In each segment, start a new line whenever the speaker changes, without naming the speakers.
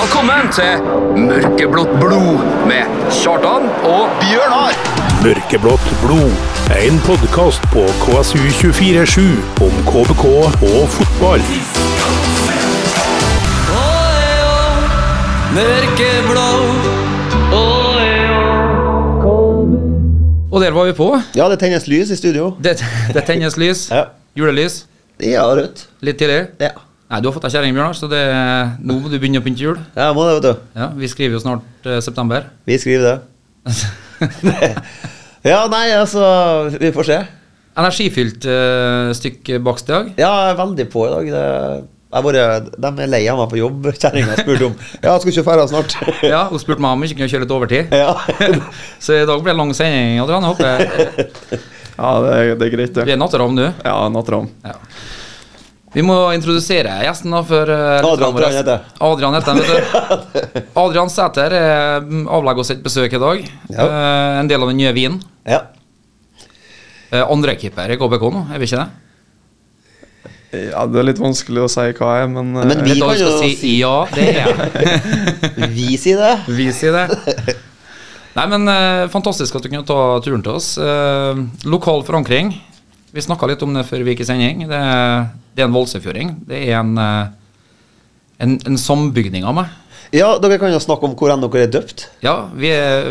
Velkommen til Mørkeblått blod med Kjartan og
Bjørnar!
Mørkeblått blod. En podkast på KSU247 om KBK og fotball.
Og der var vi på.
Ja, det tennes lys i studio.
Det, det tennes lys.
Ja.
Julelys.
Ja, rødt.
Litt tidlig.
Ja.
Nei, du har fått deg kjerring, Bjørnar, så det, nå må du begynne å pynte jul.
ja, må det, vet du.
Ja, Vi skriver jo snart eh, september.
Vi skriver det. Ja, nei, altså Vi får se.
Energifylt eh, stykke bakst i dag.
Ja, jeg er veldig på i dag. Det, jeg bare, de er lei av meg på jobb, kjerringa spurte om. Ja, skal ikke dra snart.
Ja, Hun spurte meg om jeg ikke kunne kjøre litt overtid.
Ja.
Så i dag blir det lang sending. Adrian, jeg håper
Ja, det er, det er greit,
Vi
det.
er natteravn, du.
Ja, natteravn.
Ja. Vi må introdusere gjesten da for eh, lytterne
Adrian,
våre.
tror jeg han heter.
Adrian heter han, vet du. Adrian Sæter eh, avlegger oss et besøk i dag.
Ja.
Eh, en del av den nye Wien.
ja.
Uh, Andrekeeper i KBK nå, er vi ikke det?
Ja, Det er litt vanskelig å si hva jeg er, men, eh,
Men
Eller
vi
da
kan jo
skal si
si
ja, det er jeg.
Vi sier det.
Vi sier det. Nei, men eh, fantastisk at du kunne ta turen til oss. Eh, lokal forankring. Vi snakka litt om det før vi gikk i sending. Det er, det er en voldsefjøring. Det er en, eh, en, en sambygning av meg.
Ja, dere kan jo snakke om hvor enn dere er døpt.
Ja, vi er,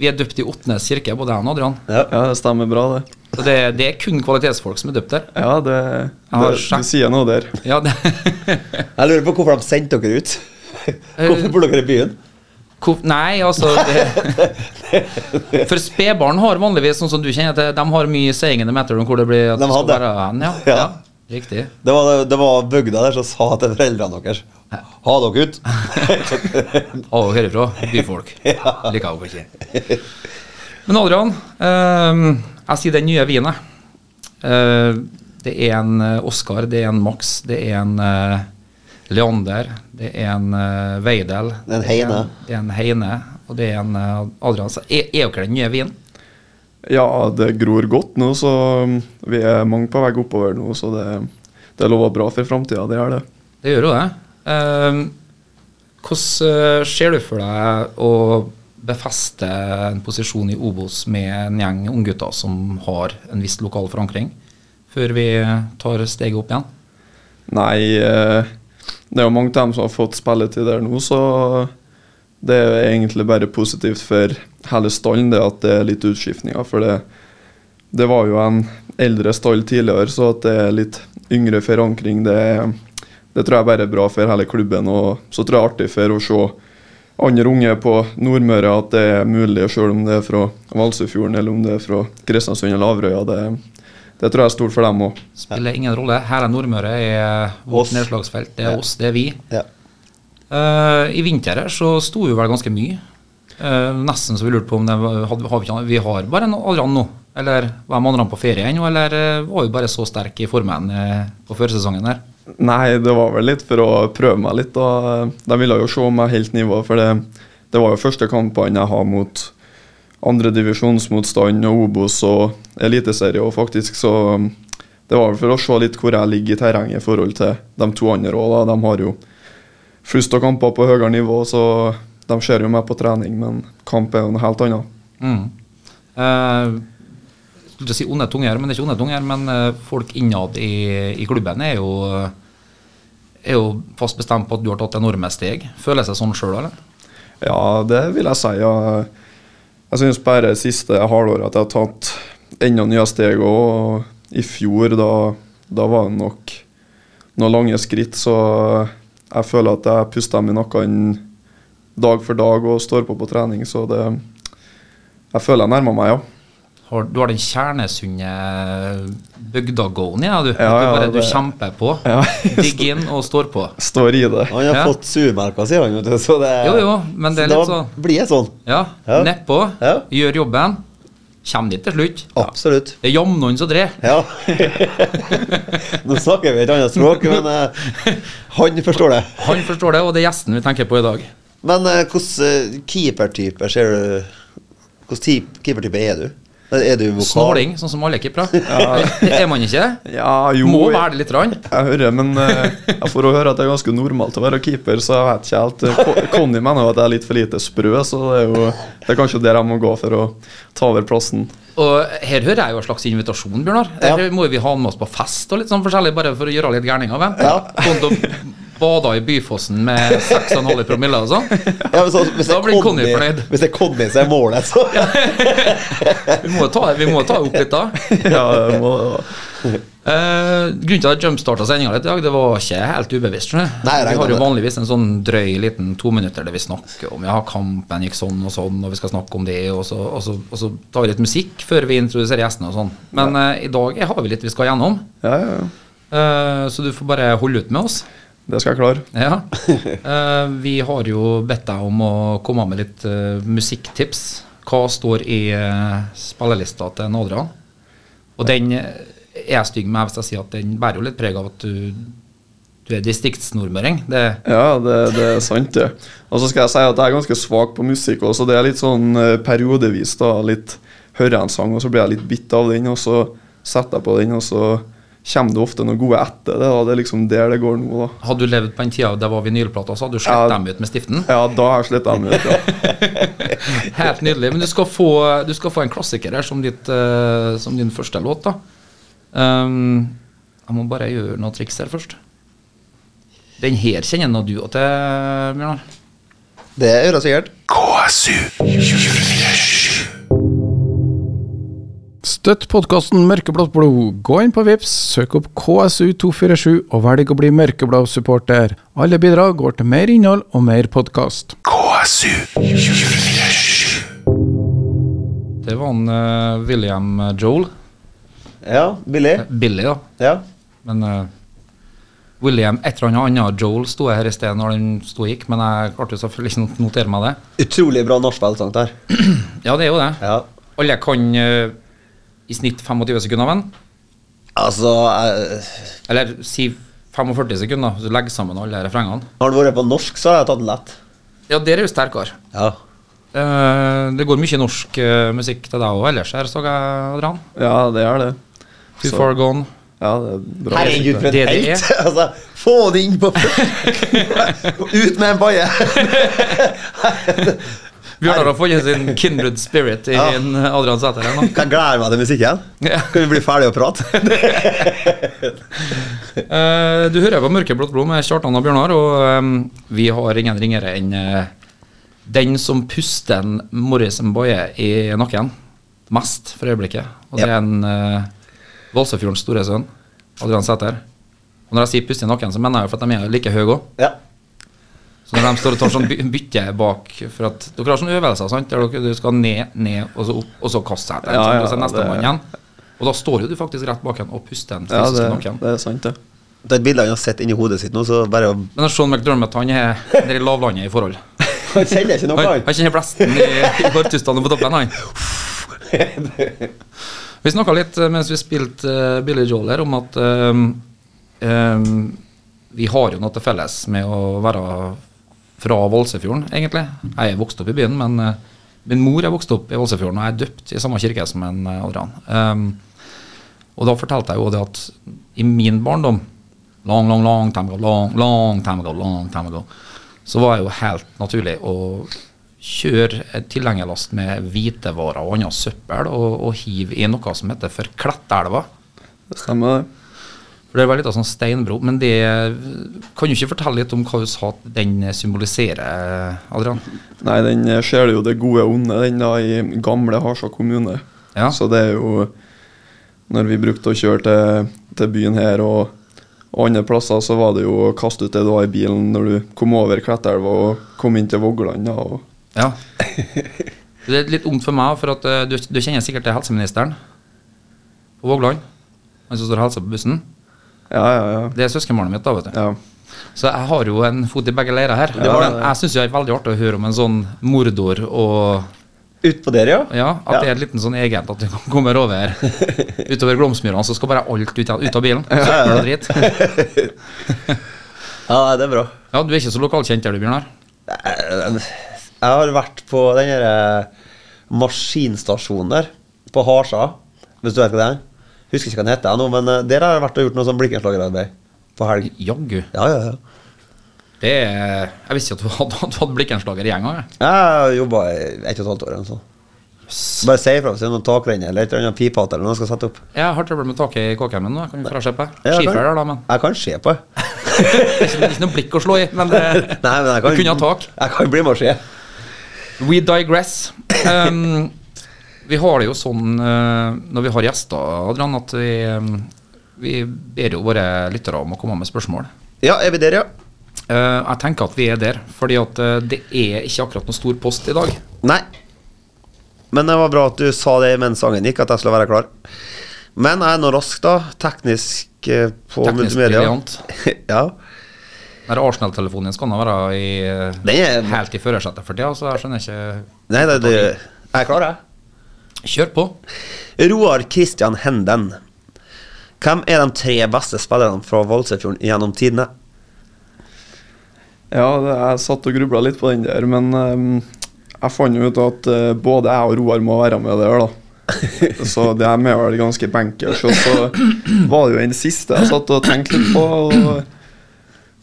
vi er døpt i Ottenes kirke, både jeg og Adrian.
ja, det stemmer bra, det.
Så det, det er kun kvalitetsfolk som er døpt der.
Ja, det,
Jeg har
det
sjekk-
Du sier noe der.
Ja, det,
Jeg lurer på hvorfor de sendte dere ut. Hvorfor bor dere i byen?
Hvor- nei, altså det, For spedbarn har vanligvis, sånn som du kjenner til, de har mye saying in the matter om hvor det blir at
De
det skal
hadde.
være hen. Ja, ja.
Ja.
riktig.
Det var, det var bygda der som sa til foreldrene deres Ha dere ut.
Av og herifra, byfolk. Liker hun ikke. Men Adrian, eh, jeg sier den nye vinen. Eh, det er en eh, Oscar, det er en Max, det er en eh, Leander, det er en eh, Veidel.
Det er en
det
Heine.
det er en Heine, og det er en eh, Adrian. Så er, er dere den nye vinen?
Ja, det gror godt nå, så mm, vi er mange på vei oppover nå, så det, det lover bra for framtida, det gjør det.
Det gjør jo det. Eh, hvordan eh, ser du for deg å befeste en posisjon i Obos med en gjeng unggutter som har en viss lokal forankring, før vi tar steget opp igjen?
Nei, eh, det er jo mange av dem som har fått spilletid der nå, så det er jo egentlig bare positivt for hele stallen det at det er litt utskiftninger. For det, det var jo en eldre stall tidligere, så at det er litt yngre forankring, det, det tror jeg bare er bra for hele klubben. Og så tror jeg det er artig for å se andre unge på Nordmøre at det er mulig, selv om det er fra Valsøyfjorden eller om det er fra Kristiansund eller Averøya. Det, det tror jeg er stort for dem òg.
Spiller ingen rolle. Her er Nordmøre, er vårt
Oss.
nedslagsfelt. Det er
Ja.
oss, det er vi.
Ja.
Eh, I vinter her så sto vi vel ganske mye. Eh, nesten så vi lurte på om det var, hadde, har vi, ikke- vi har bare en Adrian nå. Eller var de andre på ferie ennå, eller eh, var vi bare så sterke i formen eh, på førsesongen her?
Nei, det var vel litt for å prøve meg litt. Da. De ville jo se om jeg helt nivå, for det, det var jo første kampene jeg har mot andredivisjonsmotstand og Obos og eliteserie, og faktisk så um, Det var vel for å se litt hvor jeg ligger i terrenget i forhold til de to andre òg, da. De har jo flust av kamper på høyere nivå, så de ser jo meg på trening, men kamp er jo noe helt annet.
Mm. Eh, skulle til å si onde tunger, men det er ikke onde tunger. Men eh, folk innad i, i klubben er jo, er jo fast bestemt på at du har tatt enorme steg. Føler seg sånn sjøl, eller?
Ja, det vil jeg si. Ja. Jeg synes bare det siste halvåret at jeg har tatt enda nye steg. Og i fjor, da, da var det nok noen lange skritt, så jeg føler at jeg puster dem i nakken dag for dag og står på på trening, så det Jeg føler jeg nærmer meg, ja.
Har, du har den kjernesunne bygda-goen i deg, du.
Ja, ja,
du, bare, du
det-
kjemper på.
Ja.
Digger inn og står på.
Står i det.
Han har
Ja.
fått surmerker, sier han. Vet du, så det,
Jo, jo, men det er
så
litt
da
sånn.
blir det sånn.
Ja,
Ja.
nedpå.
Ja.
Gjør jobben. Kjem dit til slutt.
Absolutt.
Det er jamnåen som drar.
Ja. Nå snakker vi et annet språk, men eh, han forstår det. eh,
Han forstår det, og det er gjesten vi tenker på i dag.
Men hvilken keepertype ser du Hvilken keepertype er du? Er du vokal?
Snåling, sånn som alle keepere. Er man ikke det?
Ja, jo
Må være det litt. Rann.
Jeg hører, men eh, jeg får også høre at det er ganske normalt å være keeper, så jeg vet ikke helt. Eh, Ko- Conny mener jo at jeg er litt for lite sprø, så det er jo det er kanskje der jeg må gå for å ta over plassen.
Og her hører jeg jo en slags invitasjon, Bjørnar.
Ja.
Her må vi ha han med oss på fest og litt sånn forskjellig, bare for å gjøre litt gærninger Sånn av hvem.
Ja.
Kom til å bada i Byfossen med 6,5 i promille og sånn.
Ja, men så, hvis
Da
det er
blir Conny fornøyd.
Hvis det er Conny som er målet, så
Vi må ta, vi må ta opp litt da.
Ja, jeg må,
Eh, grunnen til at jeg jumpstarta sendinga litt i dag, det var ikke helt ubevisst. skjønner du.
Nei, jeg
vi har
regner
jo
med det.
vanligvis en sånn drøy liten tominutter der vi snakker om ja, kampen gikk sånn og sånn, og vi skal snakke om det, og så, og så, og så tar vi litt musikk før vi introduserer gjestene og sånn. Men eh, i dag har vi litt vi skal gjennom,
ja, ja, ja.
eh, så du får bare holde ut med oss.
Det skal jeg klare.
Ja. Eh, vi har jo bedt deg om å komme med litt eh, musikktips. Hva står i eh, spillelista til Nadran? Og den eh, er jeg stygg med hvis jeg sier at den bærer jo litt preg av at du, du er distriktsnordmøring. Det,
Ja, det, det er sant, det. Og så skal jeg si at jeg er ganske svak på musikk også. Det er litt sånn eh, periodevis, da. Litt hører jeg en sang, og så blir jeg litt bitt av den, og så setter jeg på den, og så kommer det ofte noe gode etter det. Da. Det er liksom der det går nå, da.
hadde du levd på den tida det var vinylplater, så hadde du
Ja.
slett dem ut med stiften.
Ja, da har jeg sletta dem ut, ja.
Helt nydelig. Men du skal få, du skal få en klassiker her som, ditt, eh, som din første låt. da. Ehm, jeg må bare gjøre noe triks her først. Den her kjenner nå du at jeg Bjørnar.
Det gjør jeg sikkert.
KSU.
Støtt podkasten Mørkeblått blod. Gå inn på Vips, søk opp KSU247 og velg å bli mørkeblå supporter. Alle bidrag går til mer innhold og mer podkast.
KSU.
Det var han eh, William Joel.
Ja, billig.
Billy, da.
Ja.
Men eh, William et eller annet annet Joel sto jeg her i sted når den sto og gikk, men jeg klarte jo selvfølgelig ikke å notere meg det.
Utrolig bra nachspiel-sang der.
Ja, det er jo det.
Ja.
Alle kan eh, i snitt 25 sekunder av den.
Altså jeg,
Eller si 45 sekunder, så legg sammen alle refrengene.
Har den vært på norsk, så har jeg tatt den lett.
Ja, der er jo sterkere.
Ja.
Eh, det går mye norsk eh, musikk til deg òg ellers her, så jeg, Adrian.
Ja, det er det.
Too
Så-
Far Gone.
Ja, det er bra.
Herregud, for
Det
en
det er.
helt! Altså, få det inn på Ut med en baie!
Bjørnar har funnet sin kindred spirit i
Ja.
en eh, Adrian Sæter her nå.
Kan jeg glede meg til musikken?
Ja.
Kan vi bli ferdige å prate?
Eh, du hører på Mørkeblått blod med Kjartan og Bjørnar, og ehm, vi har ingen ringere enn eh, den som puster en Morris Mboye i nakken mest for øyeblikket. Og det er en uh, Valsøfjordens store sønn, Adrian Sæter. Og når jeg sier puste i nakken, så mener jeg jo for at de er like høye òg.
Ja.
Så når de står og tar sånn by bytte bak For at dere har sånne øvelser sant? der dere du skal ned, ned, og så opp, og så kaste seg etter.
Ja,
sant?
ja,
og så er neste
det-
mann igjen. Og da står jo du faktisk rett bak han og puster en
Ja,
fysisk
det,
i nakken.
det er sant, det.
Det er et bilde han har sett inni hodet sitt nå, så bare å-
Men Sean McDermott han er nede i lavlandet i forhold.
Han kjenner ikke noe,
Han,
han.
han kjenner blesten i, i Bartusdalen på toppen. han Vi snakka litt eh, mens vi spilte eh, Billy Joel her, om at eh, eh, vi har jo noe til felles med å være fra Valsefjorden, egentlig. Jeg er vokst opp i byen, men eh, min mor er vokst opp i Valsefjorden, og jeg er døpt i samme kirke som en eh, Adrian. Um, og da fortalte jeg jo det at i min barndom Long, long, long time ago, long, long time ago, long time ago Så var det jo helt naturlig å kjøre et tilhengerlast med hvitevarer og annet søppel og, og hive i noe som heter for Klettelva.
Det stemmer, det.
For det var litt av sånn steinbro, men det Kan du ikke fortelle litt om hva du sa at den symboliserer, Adrian?
Nei, den eh, ser jo det gode og onde, den da, i gamle Harstad kommune.
Ja.
Så det er jo Når vi brukte å kjøre til, til byen her og, og andre plasser, så var det jo å kaste ut det du har i bilen når du kom over Klettelva og kom inn til Vågland. da, og
Ja. Det er litt ondt for meg, for at eh, du, du kjenner sikkert til helseministeren på Vågland. Han som står og hilser på bussen.
Ja, ja, ja.
Det er søskenbarnet mitt, da, vet du.
ja.
Så jeg har jo en fot i begge leirer her.
har
Men jeg syns det er veldig artig å høre om en sånn mordor og
Utpå der, ja.
Ja, at det er en liten sånn egent at du kommer over utover Glomsmyrene, så skal bare alt ut, av- ut av bilen. Søppel og dritt.
Ja, det er bra.
Ja, du er ikke så lokalkjent er du, Bjørnar?
Jeg har vært på den der eh, maskinstasjonen der. på Harsa, hvis du vet hva det er. Husker ikke hva den heter nå, men eh, der har jeg vært og gjort noe sånn blikkenslagerarbeid på helg.
Jaggu.
Ja, ja, ja.
Det er Jeg visste ikke at du hadde, at du hadde blikkenslager i gjenga. jeg.
Jeg jobba i ett og et halvt år eller noe sånt. Bare si ifra hvis det er noen takrenner eller et eller annet pipehate eller noe jeg skal sette opp.
Jeg har trøbbel med taket i kåken min nå. Kan vi fraslippe?
Ja, jeg kan-
Skifører, da, men.
Jeg kan se på.
Det er ikke- det er ikke noe blikk å slå i. Men det,
Nei, men jeg kan,
Du kunne ha tak.
Jeg kan bli med og se.
We digress. Um, vi har det jo sånn eh, når vi har gjester, Adrian, at vi, eh, vi ber jo våre lyttere om å komme med spørsmål.
Ja, er vi der, ja?
Eh, jeg tenker at vi er der, fordi at eh, det er ikke akkurat noen stor post i dag.
Nei. Men det var bra at du sa det mens sangen gikk, at jeg skulle være klar. Men jeg er nå rask, da. Teknisk eh, på
Teknisk
multimedia.
briljant.
ja.
Den Arsenal-telefonen skal nå være i, eh,
Den er
helt i førersetet for tida, så jeg skjønner ikke
Nei, det, det, jeg er klar, jeg.
Kjør på.
Roar Christian Henden. Hvem er de tre beste spillerne fra Valsøyfjorden gjennom tidene?
Ja, det, jeg satt og grubla litt på den der, men ehm, jeg fant jo ut at eh, både jeg og Roar må være med der, da. Så det er med vel ganske bankers. Og så var det jo den siste jeg satt og tenkte litt på. Og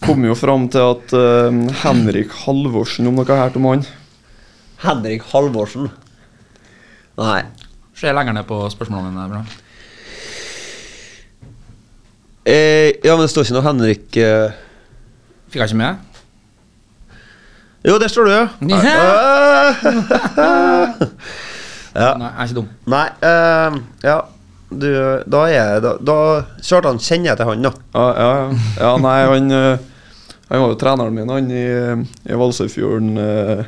kom jo fram til at ehm, Henrik Halvorsen, om dere har hørt om han
Henrik Halvorsen. Nei.
Se lenger ned på spørsmålene dine. Bra.
Eh, ja, men det står ikke noe Henrik eh.
Fikk jeg ikke med?
Jo, der står du, ja. ja.
Nei, jeg er ikke dum.
Nei, ehm, ja du, da er jeg da, da Kjartan kjenner jeg til han, da.
Ja, ja, ja. ja nei, han, eh, han var jo treneren min, han i, eh, i Valsøyfjorden eh,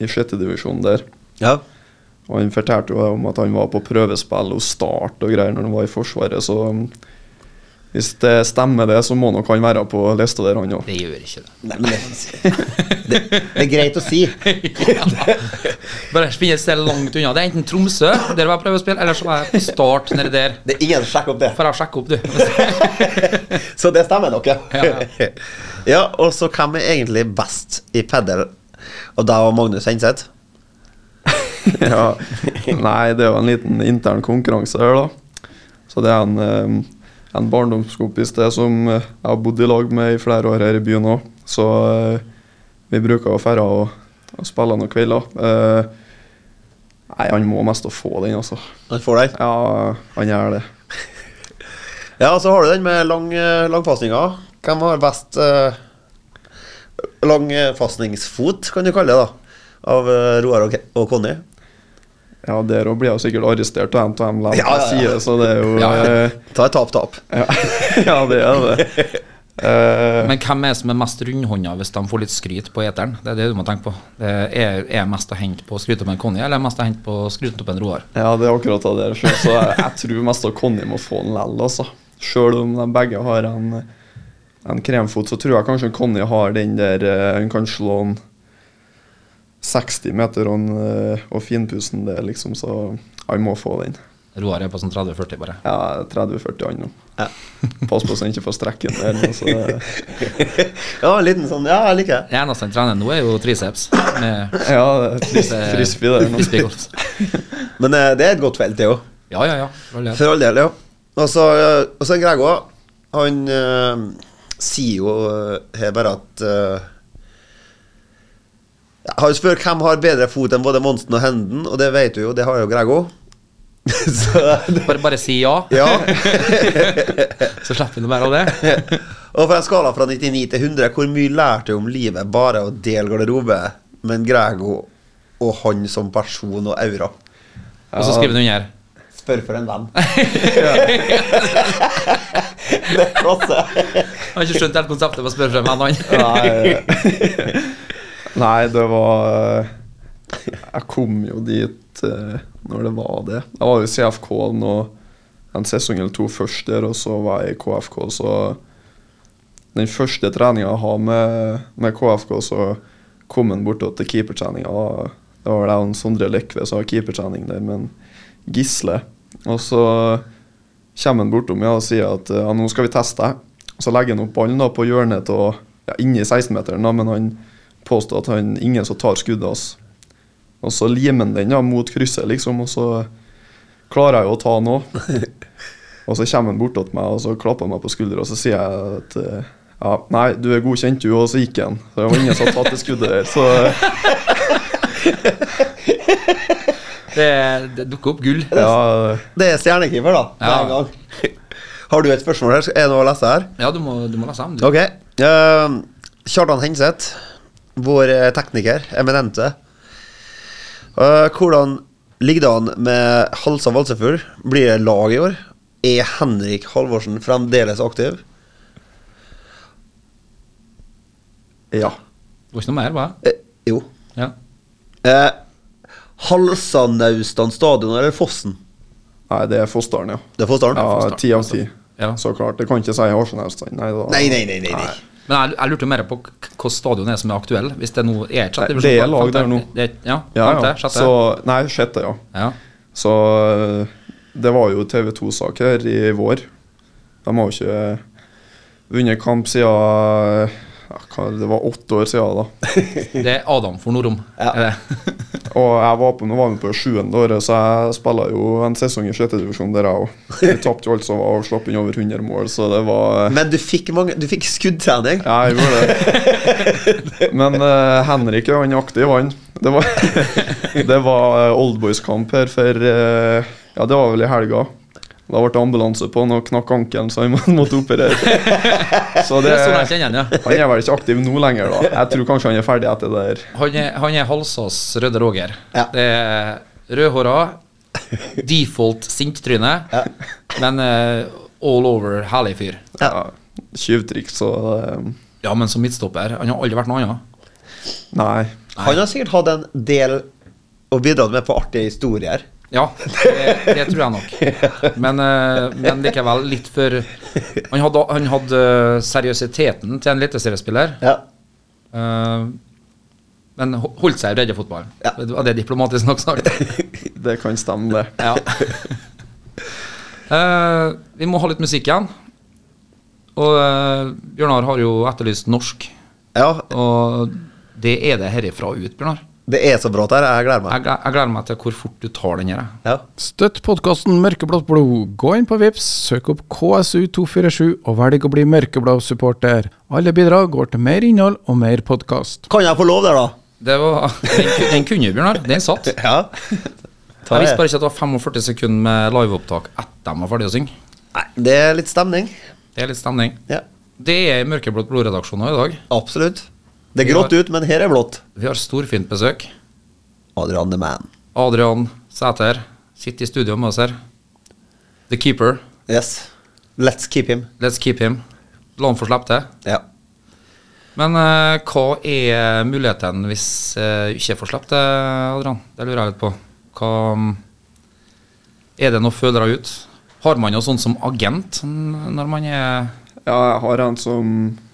i sjette divisjon der.
Ja.
Og han fortalte jo om at han var på prøvespill hos Start og greier når han var i Forsvaret, så mm, hvis det stemmer det, så må nok han være på lista der, han òg.
Det gjør ikke det.
Nei, men det, det, det er greit å si.
Bare spinn et sted langt unna. Det er enten Tromsø, der var prøvespill, eller så var jeg på Start nede der.
Det er ingen som sjekker opp det.
Får jeg sjekke opp, du?
Så det stemmer nok,
Ja,
ja. ja og så hvem er egentlig best i pedel? Og da var Magnus Henseth.
Ja. Nei, det er jo en liten intern konkurranse her, da. Så det er en, eh, en barndomskompis det som eh, jeg har bodd i lag med i flere år her i byen òg. Så eh, vi bruker å dra og, og spille noen kvelder. Eh, Nei, han må mest å få den, altså.
Han får den.
Ja, han gjør det.
Ja, og så har du den med lang, eh, langfastinga. Hvem har best eh, langfasningsfot, kan du kalle det, da? Av eh, Roar og, Ke- og Conny.
Ja, der òg blir jeg jo sikkert arrestert av NTM Lab,
Ja, ja, ja.
jeg sier det, så det er jo
Ja, ja.
eh,
Ta et tap-tap.
ja. ja, det er det. Eh,
Men hvem er det som er mest rundhånda hvis de får litt skryt på eteren? Det er det du må tenke på. Det er, er mest å hente på å skryte opp en Conny, eller er mest å hente på å skryte opp en Roar?
ja, det er akkurat det der. Så så jeg, jeg tror mest av Conny må få den lell, altså. Sjøl om de begge har en, en kremfot, så tror jeg kanskje Conny har den der eh, Han kan slå den 60 meter og, en, eh, og finpussen det, liksom, så han må få den.
Roar er på sånn 30-40, bare.
Jeg er 30-40 han nå.
Ja.
Pass på så han ikke får strekken der. nå, Så det,
ja, en liten sånn Ja, jeg liker det.
Det eneste han trener nå, er jo triceps. Med
ja, det er fris,
med
frisbee der nå.
frisbeegolf.
Men eh, det er et godt felt, det òg.
Ja, ja, ja. for all del.
For all del, ja. Og så eh, og så Grego, han eh, sier jo eh, her bare at eh, ja, Han spør hvem har bedre fot enn både Monsen og Henden, og det vet du jo, det har jo Grego. så
Bare, bare si ja,
ja.
så slipper vi noe mer av det.
Og fra en skala fra 99 til 100, hvor mye lærte du om livet bare å dele garderobe? Men Grego og han som person og aura
Og så skriver du under.
Spør for en venn. det er klasse.
Jeg har ikke skjønt helt konseptet med å spørre frem en annen.
Nei, nei, det var eh, Jeg kom jo dit eh, når det var det. Jeg var jo i CFK nå en sesong eller to først der, og så var jeg i KFK, så Den første treninga jeg har med, med KFK, så kom han bort til keepertreninga. og Det var vel jeg og Sondre Lekve som har keepertrening der, men Gisle. Og så kommer han bortom meg og sier at ja, nå skal vi teste deg. Så legger han opp ballen da på hjørnet til ja, inni 16-meteren, da, men han påstår at han ingen som tar skuddet hans. Og så limer han den da mot krysset, liksom, og så klarer jeg jo å ta nå. Og så kommer han bort til meg og så klapper han meg på skuldra og så sier jeg at eh, ja, nei, du er godkjent, du. Og så gikk han. Så det var ingen som hadde tatt det skuddet der. Så
Det, det dukker opp gull.
ja,
Det er stjernekeeper, da.
Ja.
Hver gang. Har du et spørsmål her? Er det noe å lese her?
Ja, du må, du må lese om du.
Ok. eh, Kjartan Henseth, vår eh, tekniker, eminente. Eh, hvordan ligger det an med Halsa Valsefugl? Blir det lag i år? Er Henrik Halvorsen fremdeles aktiv? Ja.
Det var ikke noe mer, hva?
Eh, jo.
Ja.
Eh, Halsanaustan stadion eller Fossen?
nei, det er Fossdalen, ja.
Det er Fossdalen?
Ja, Ti av ti.
Ja.
Så klart. Det kan ikke si Arsenal-stand. Nei, da.
Nei, nei, nei, nei, nei.
Men jeg, jeg lurte mer på k- hvilken stadion er som er aktuell. Hvis det nå er et sjette
Nei,
divisjon-
det er lag der nå.
Det, er- ja,
Ja, ja.
femte, sjette.
Så, nei, sjette, ja.
ja.
Så eh, det var jo TV 2-sak her i vår. De har jo ikke eh, vunnet kamp siden eh, ja, hva, Det var åtte år siden, da.
Det er Adam for Eh, Norom. Er det?
Og jeg var på, nå var vi på sjuende året, så jeg spilla jo en sesong i sjette divisjon der, jeg òg. Vi tapte jo altså alt som var, og slapp inn over 100 mål, så det var
Men du fikk, mange, du fikk skuddtrening.
Ja, jeg gjorde det. Men eh, Henrik ja, han er aktiv, han. Det var, det var eh, oldboys-kamp her for eh, Ja, det var vel i helga. Da ble det ambulanse på han og knakk ankelen, så han måtte operere. Så
Det
det,
er sånn jeg kjenner han, ja.
han er vel ikke aktiv nå lenger, da. Jeg tror kanskje han er ferdig etter det der.
Han er, han er Halsas Røde Roger.
Ja.
Det er rødhåra, default sinttryne, men eh, all over herlig fyr.
Ja, Tjuvtriks så eh,
Ja, men som midtstopper. Han har aldri vært noe annet.
Nei.
Han har sikkert hatt en del å bidra med på artige historier.
Ja, det, det tror jeg nok. Men, eh, men likevel litt for Han hadde, han hadde eh, seriøsiteten til en eliteseriespiller,
Ja.
eh, men ho- holdt seg i breddefotballen.
Ja.
Var det diplomatisk nok snart?
Det kan stemme, det.
Ja. Eh, vi må ha litt musikk igjen. Og eh, Bjørnar har jo etterlyst norsk,
ja,
og det er det herifra og ut, Bjørnar.
det er så bra der. Jeg gleder meg.
Jeg, gle- jeg gleder meg til hvor fort du tar den her. jeg.
Ja.
Støtt podkasten Mørkeblått blod. Gå inn på Vips, søk opp KSU247 og velg å bli mørkeblå-supporter. Alle bidrag går til mer innhold og mer podkast.
Kan jeg få lov der, da?
Det var, den, ku- den kunne Bjørnar. Den satt.
Ja.
Jeg visste bare ikke at det var 45 sekunder med liveopptak etter de var ferdig å synge.
Nei, det er litt stemning.
Det er litt stemning.
Ja,
Det er Mørkeblått blodredaksjon i dag.
Absolutt. Det er grått ut, men her er blått.
Vi har storfint besøk.
Adrian the Man.
Adrian Sæter sitter i studio med oss her. The Keeper.
Yes. Let's keep him.
Let's keep him. La han få slippe det.
Ja.
Men eh, hva er muligheten hvis eh, ikke får slippe det, Adrian? Det lurer jeg litt på. Hva Er det noe følere ut? Har man jo sånn som agent n- når man er
Ja, jeg har en som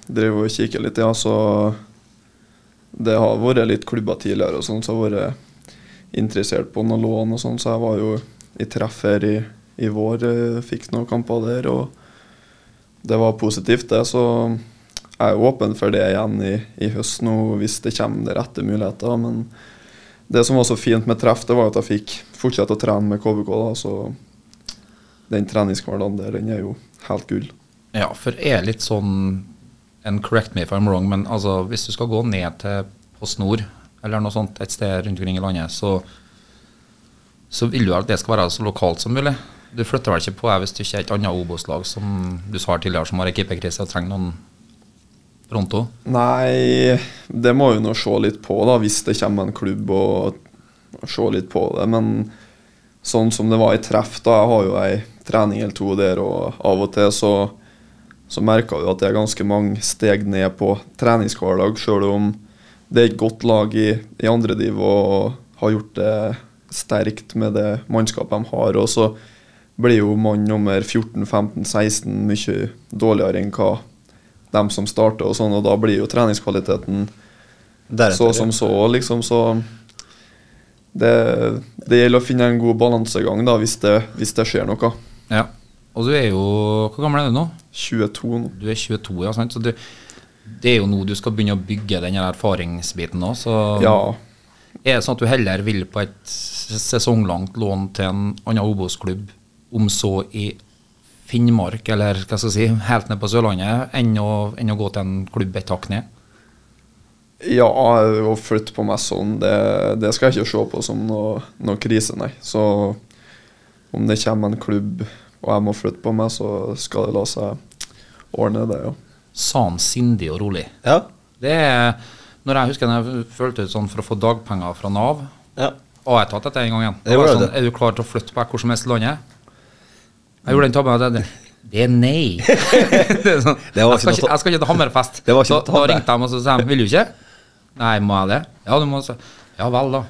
driver og kikker litt, ja, så det har vært litt klubber tidligere og sånn, så har jeg vært interessert på noen lån og sånn, så jeg var jo i treff her i, i vår, eh, fikk noen kamper der, og det var positivt det, så jeg er åpen for det igjen i, i høst nå, hvis det kommer de rette muligheter, men det som var så fint med treff, det var at jeg fikk fortsette å trene med KBK, da, så den treningshverdagen der, den er jo helt gull.
Ja, for er litt sånn And correct me if I'm wrong, men altså, hvis du skal gå ned til Post Nord eller noe sånt et sted rundt omkring i landet, så, så vil du at det skal være så lokalt som mulig. Du flytter vel ikke på deg hvis du ikke er et annet Obos-lag som du sa her tidligere, som har ei keeperkrise og trenger noen pronto.
Nei, det må vi nå se litt på, da, hvis det kommer en klubb og og se litt på det. Men sånn som det var i treff, da, jeg har jo ei trening eller to der, og av og til så, så merker vi at det er ganske mange steg ned på treningshverdag, sjøl om det er et godt lag i, i andre div og har gjort det sterkt med det mannskapet de har. Og så blir jo mann nummer 14, 15, 16 mye dårligere enn hva dem som starter, og sånn, og da blir jo treningskvaliteten så som så, liksom, så det, det gjelder å finne en god balansegang da, hvis det, hvis det skjer noe.
Ja. Og du er jo Hvor gammel er du nå?
22 nå.
Du er 22, ja. sant? Så du, det er jo nå du skal begynne å bygge den her erfaringsbiten nå. Så
Ja.
Er det sånn at du heller vil på et s- sesonglangt lån til en annen Obos-klubb, om så i Finnmark eller hva skal jeg si, helt ned på Sørlandet, enn å, enn å gå til en klubb et hakk ned?
Ja, å flytte på meg sånn, det, det skal jeg ikke se på som noe, noe krise, nei. Så om det kommer en klubb og jeg må flytte på meg, så skal det la seg ordne, det, ja.
Sa han Sånn sindig og rolig.
Ja.
Det er, når jeg husker når jeg følte ut sånn for å få dagpenger fra Nav,
ja.
og jeg tatt dette en gang igjen.
Det
Det var
gjorde
sånn,
det.
er du klar til å flytte på hvor som helst i landet? Jeg gjorde den tabben at jeg- det er nei. det er sånn,
Det var
jeg, skal
ikke noe
ikke, jeg skal ikke til Hammerfest.
Det var ikke
da,
noe tabbe.
da ringte de og så sa de, vil du ikke? Nei, må jeg det? Ja, du må så. Ja vel, da.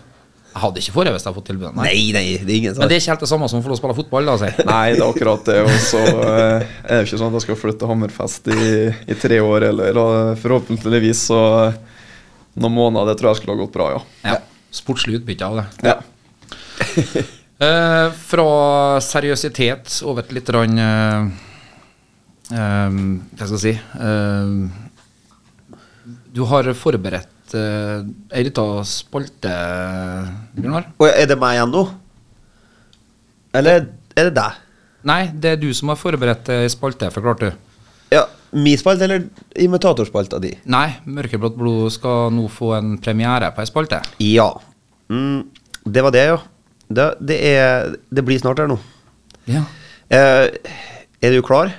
Jeg hadde ikke forrige hvis jeg hadde fått tilbudet. Nei.
Nei, nei, det er ingen
Men
sak.
det er ikke helt det samme som å få lov til å spille fotball, da, si.
Nei, det er akkurat det. Og så eh, er det ikke sånn at jeg skal flytte til Hammerfest i, i tre år heller. Og forhåpentligvis så eh, noen måneder, det tror jeg skulle ha gått bra, ja.
Ja. Sportslig utbytte av det.
ja.
Eh, fra seriøsitet over til litt rann, eh, eh, Hva skal jeg si eh, Du har forberedt eh, ei lita spalte, Bjørnar.
Og er det meg igjen nå? Eller er det deg?
Nei, det er du som har forberedt ei spalte, forklarte du.
Ja, Min spalte eller imitatorspalta di?
Nei, Mørkeblått blod skal nå få en premiere på ei spalte.
Ja. Mm, det var det, ja. Det, det, er, det blir snart her nå.
Ja,
Eh, er du klar?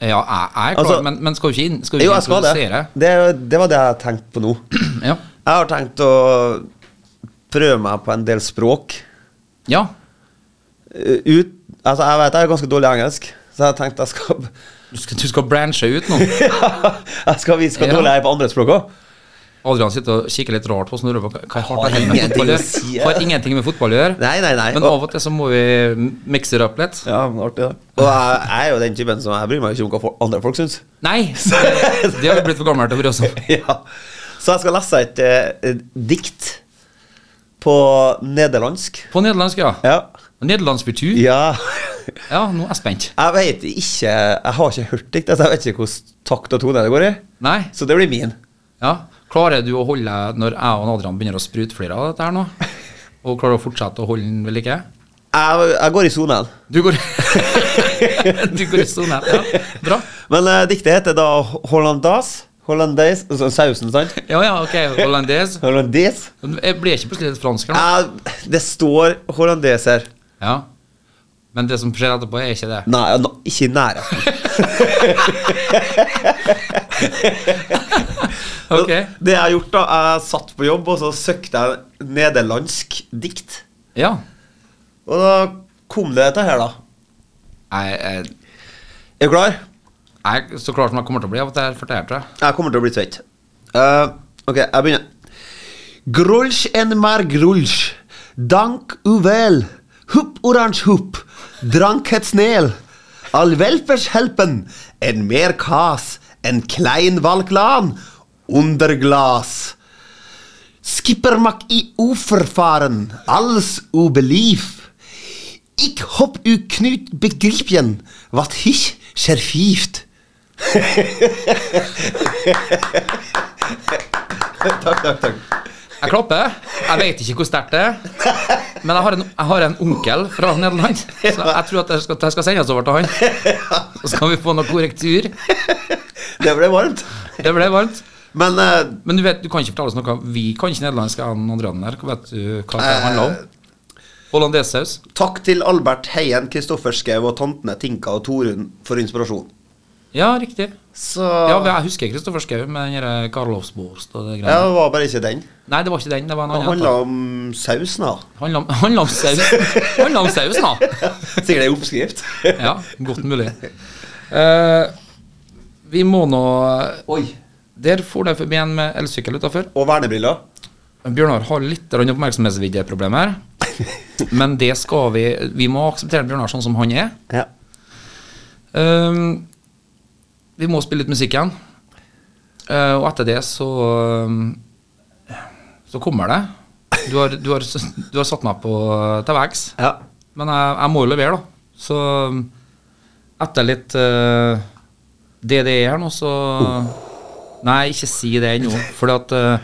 ja jeg, jeg er klar,
Altså-
men, men skal du ikke, inn, skal du
Jo,
ikke
jeg skal det.
introdusere?
det. Det var det jeg tenkte på nå.
Ja.
Jeg har tenkt å prøve meg på en del språk.
ja.
Eh, Ut, altså, jeg vet jeg er ganske dårlig i engelsk, så jeg tenkte jeg skal
Du, skal, du skal branche ut nå.
Jeg skal vise hvor
Ja.
dårlig jeg er på andre språk òg.
Adrian sitter og kikker litt rart på oss når du bare, hva har,
Har
det her med
ingenting
fotball å
å
gjøre?
si, ja.
har ingenting med fotball å gjøre.
Nei, nei, nei.
Men
Og,
av og til så må vi mikse det opp litt.
ja, men artig, det.
og jeg, jeg er jo den typen som jeg bryr meg ikke om hva folk- andre folk syns.
Nei! Det har vi blitt for gamle til å bry oss om.
ja. Så jeg skal lese et eh, dikt på nederlandsk.
På nederlandsk, ja.
Ja.
Nederlandskultur. Ja.
ja.
nå er jeg spent.
Jeg vet ikke Jeg har ikke hørt dikt, så jeg vet ikke hvordan takt og tone det går i.
Nei?
Så det blir min.
Ja. Klarer du å holde når jeg og Adrian begynner å sprute flere av dette her nå? Og klarer du å fortsette å holde den ved like?
Jeg, jeg går i sonen.
Du går Du går i sone. Ja. Bra.
Men eh, diktet heter da Hollandas. Hollandaise altså Sausen, sant?
Ja ja, ok. Hollandes.
Hollandes.
Jeg blir ikke plutselig litt fransk her nå.
Jeg, det står hollandes her.
Ja. Men det som skjer etterpå, er ikke det.
Nei, nå- ikke i nærheten.
Ok.
Det jeg har gjort, da Jeg satt på jobb, og så søkte jeg nederlandsk dikt.
Ja.
Og da kom det dette her, da.
Jeg, jeg,
Er du klar?
jeg, så klar som jeg kommer til å bli av at jeg fortalte det.
Jeg kommer til å bli svett. Eh, ok, jeg begynner. Grulsj en mar grulsj. Dank uvel. Hupp oransj hupp. Drank het snel. All velfers helpen. En mer kas. En klein valklan. Underglas. Skippermak i uforfaren. Alles ubelief. Ik hopp u knut begripjen. Wat hich scherfieft. Takk, takk, takk.
Jeg klapper. Jeg vet ikke hvor sterkt det er. Men jeg har, en, jeg har en onkel fra Nederland, så jeg tror at jeg skal, jeg skal sende oss over til han. Så skal vi få noe korrektur.
Det ble varmt.
Det ble varmt.
Men eh,
Men du vet, du kan ikke fortelle oss noe. Vi kan ikke nederlandsk, jeg og Adrian her. Hva Vet du hva det handler om? Eh. Hollandesaus.
takk til Albert Heien, Kristoffer Schau og tantene Tinka og Torunn for inspirasjon.
Ja, riktig.
Så
Ja,
ja,
jeg husker Kristoffer Schou med den der eh, Karlovsborst og det
det
greiene.
var bare ikke den.
Nei, det var ikke den. Det var en
Det
annen.
handla om sausen, da.
Handla om, handla om saus. Handla om sausen, da.
Sikkert ei oppskrift.
Ja, godt mulig. Eh, vi må nå
Oi.
Der for det forbi en med elsykkel utafor.
Og vernebriller.
Bjørnar har litt grann oppmerksomhetsviddeproblem her. Men det skal vi Vi må akseptere Bjørnar sånn som han er.
Ja.
Ehm, vi må spille litt musikk igjen. Eh, og etter det så eh, Så kommer det. Du har, du har, du har satt meg på eh, til veggs.
ja.
Men jeg, jeg må jo levere, da. Så um, etter litt eh, E DDE her nå, så Nei, ikke si det ennå. For at eh,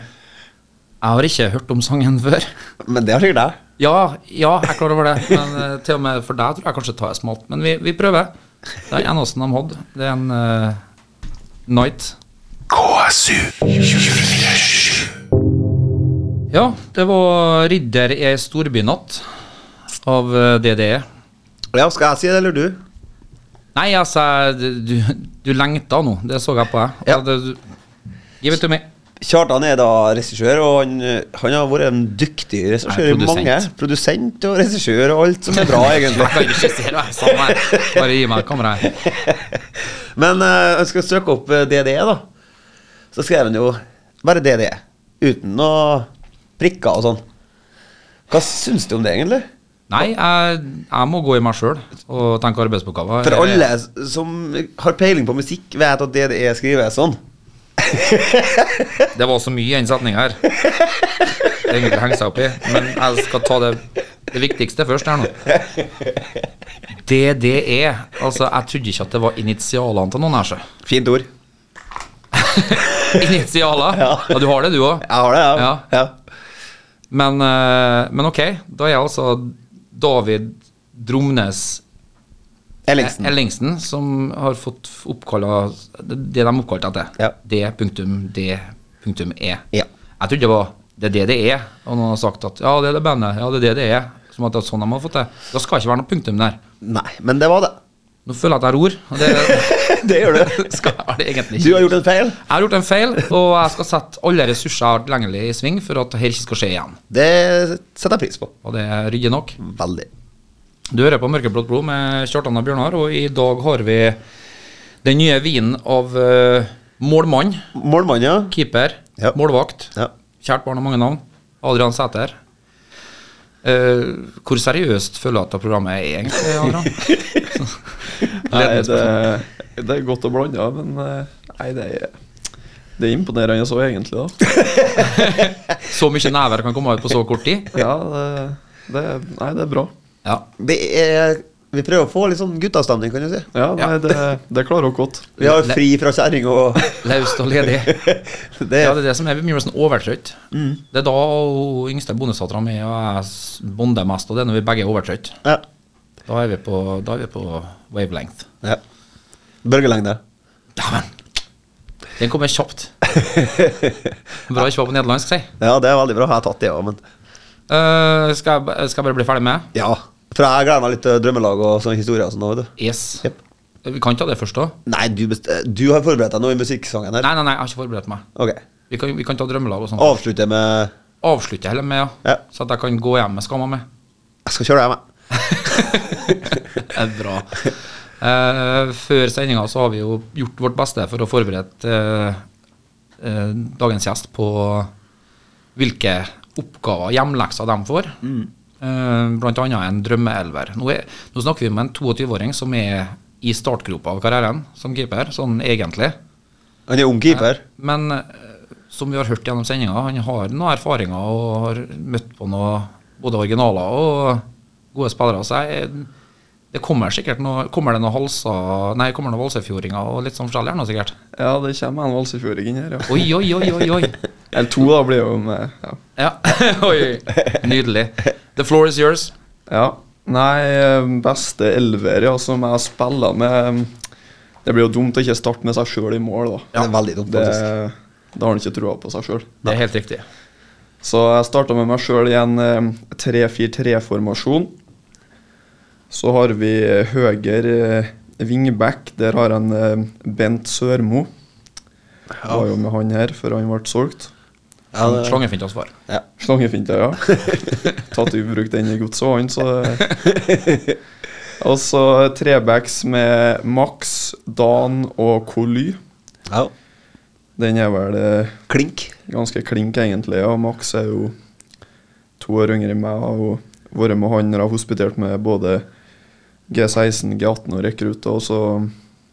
Jeg har ikke hørt om sangen før.
Men det har sikkert jeg.
Ja, ja, jeg er klar over det. Men eh, til og med for deg tror jeg kanskje tar jeg smalt. Men vi, vi prøver. Det er den eneste de hadde. Det er en eh, Night. Ja, det var 'Ridder i ei storbynatt' av eh, DDE.
Ja, skal jeg si det, eller du?
Nei, altså, du, du lengta nå. Det så jeg på deg.
Ja.
Altså, du- Give it to me.
Kjartan er da regissør, og han, han har vært en dyktig regissør
Nei,
i
produsent.
mange. Produsent og regissør og alt som er bra,
Jeg kan
egentlig.
ikke se deg sånn her. Bare gi meg kameraet. her.
Men eh, jeg skal søke opp eh, DDE, da. Så skrev han jo bare DDE. Uten noe prikker og sånn. Hva syns du om det, egentlig?
Nei, jeg, jeg må gå i meg sjøl og tenke arbeidsoppgaver.
For alle s- som har peiling på musikk, vet at DDE skrives sånn.
Det var så mye i den setninga her. Det er egentlig å henge seg opp i. Men jeg skal ta det, det viktigste først her nå. DDE. Altså, jeg trodde ikke at det var initialene til noen her, så.
Fint ord.
Initialer? Ja.
Ja.
du har det, du òg.
Jeg har det, ja.
Ja. Men, eh, men ok, da er jeg altså David Dromnes
Ellingsen.
Eh, Ellingsen, som har fått oppkalla det de er oppkalt etter.
Ja.
D.D.E.
Ja.
E. Jeg trodde det var det er det det er, og noen har sagt at ja, det er det bandet, ja, det er det det er. Som at det er sånn de har fått det. Da skal det ikke være noe punktum der.
Nei, men det var det.
Nå føler jeg at jeg ror, og det
Det gjør du.
skal jeg det egentlig
Du
ikke.
har gjort en feil.
Jeg har gjort en feil, og jeg skal sette alle ressurser jeg har tilgjengelig i sving for at dette ikke skal skje igjen.
Det setter jeg pris på.
Og det er ryddig nok.
Veldig.
Du hører på Mørkeblått blod med Kjartan og Bjørnar, og i dag har vi den nye vinen av eh, målmann,
Målmann, ja.
keeper,
Ja.
målvakt.
Ja.
Kjært barn har mange navn. Adrian Sæter. Eh, hvor seriøst føler du at det programmet er egentlig, Adrian?
Nei, det, det er godt å blande, ja, men eh, nei, det er, det er imponerende så, egentlig. da.
Så mye nærvær kan komme ut på så kort tid?
Ja, det, det, er- nei, det er bra.
Ja.
Det er, vi prøver å få litt sånn guttastemning, kan du si.
Ja, nei,
Ja.
Det, det klarer dere godt.
Vi har fri fra kjerring og
Laust og ledig.
det,
Ja, det er det som er mye sånn overtrøtt. Det er da hun yngste bondesattera mi og jeg s- bonder mest, og det er når vi begge er overtrøtt.
ja.
Da er vi på, da er vi på wavelength.
ja. Bølgelengde.
Dæven! Den kommer kjapt. Bra ikke var på nederlandsk, si.
Ja, det er veldig bra. Jeg har tatt det òg, men
Eh, skal, jeg, ba- skal jeg bare bli ferdig med?
ja. For jeg gleder meg litt til drømmelag og sånne historier. og Sånn, også, vet du.
Yes.
Jep.
Vi kan ta det først, da.
Nei, du, best, du har forberedt deg noe i musikksangen her?
Nei, nei, nei, jeg har ikke forberedt meg.
Ok.
Vi kan, vi kan ta drømmelag og sånn.
Avslutte med
Avslutte heller med, ja.
Ja.
Så at jeg kan gå hjem med skamma mi.
Jeg skal kjøre deg hjem, jeg.
Det er Bra. Eh, før sendinga så har vi jo gjort vårt beste for å forberede eh, eh, dagens gjest på hvilke oppgaver, hjemlekser, de får.
Mm.
Eh, blant annet en drømmeelver. Nå, er, nå snakker vi om en 22-åring som er i startgropa av karrieren som keeper, sånn egentlig.
Han er ung keeper.
Men eh, som vi har hørt gjennom sendinga, han har noen erfaringer og har møtt på noe, både originaler og gode spillere. Så jeg, det kommer sikkert noe, kommer det noen halser, nei, kommer det noen valsefjordinger og litt sånn forskjellig her nå, sikkert.
Ja, det kommer en valsefjøring inn her, ja.
Oi, oi, oi, oi, oi.
Eller to, da, blir jo med. Ja.
Ja. oi. Nydelig. The floor is yours.
ja. Nei, eh, beste elver ja, som jeg spiller med eh, Det blir jo dumt å ikke starte med seg sjøl i mål, da.
Det er veldig dumt,
Det,
faktisk.
da har han ikke trua på seg sjøl.
Det er helt riktig.
Så jeg starta med meg sjøl i en eh, 3-4-3-formasjon. Så har vi høyre eh, wingback. Der har han eh, Bent Sørmo. Var jo med han her før han ble solgt.
Ja, det-
Slangefint å svare.
Slangefinta, ja. Tatt i bruk den i godset og han, så eh. Og så trebacks med Max, Dan og Coly.
ja.
Den er vel eh,
Klink.
ganske klink, egentlig. Og Max er jo to år yngre enn meg og har vært med han når jeg har hospitert med både G16, G18 og rekrutter. Og så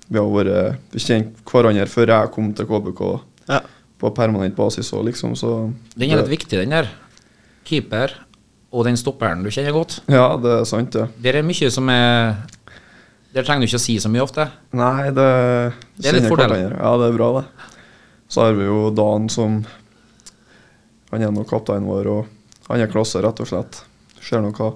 vi har vært vi kjent hverandre før jeg kom til KBK
Ja.
på permanent basis òg, liksom. Så
Den er
det-
litt viktig, den der. Keeper og den stopperen du kjenner godt.
Ja, det er sant, det.
Der er mye som er Der trenger du ikke å si så mye ofte.
Nei, det
Det er litt
kjenner
fordel.
hverandre. Ja, det er bra, det. Så har vi jo Dan som Han er nå kapteinen vår, og han er klasse, rett og slett. Ser nå hva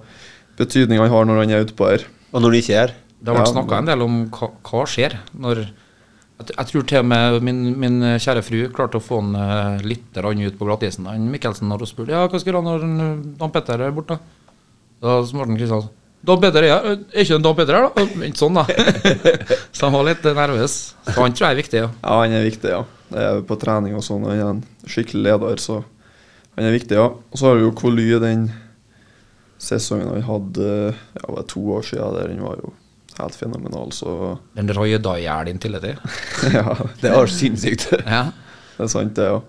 betydning han har når han er ute på her.
Og når de ikke er her
Det har vært
Ja, men-
snakka en del om hva, hva skjer når jeg, t- jeg tror til og med min, min kjære fru klarte å få han eh, litt grann ut på glattisen. Han Mikkelsen har også spurt ja, hva skal han når han, eh, Dan Petter er borte. da?" Da svarte han Kristiansen Dan Petter er her. Er ikke en Dan Petter her, da? «Øh, Ikke sånn, da. Så han var litt eh, nervøs. Så han tror jeg er viktig, ja.
Ja, han er viktig, ja. Det er på trening og sånn, og han er en skikkelig leder, så han er viktig, ja. Og så har vi jo Koly den sesongen han hadde, ja, det var to år siden, der han var jo helt fenomenal, så
Den røyda i hjel inntil det.
ja,
Det er sinnssykt.
Ja.
det er sant, det, ja.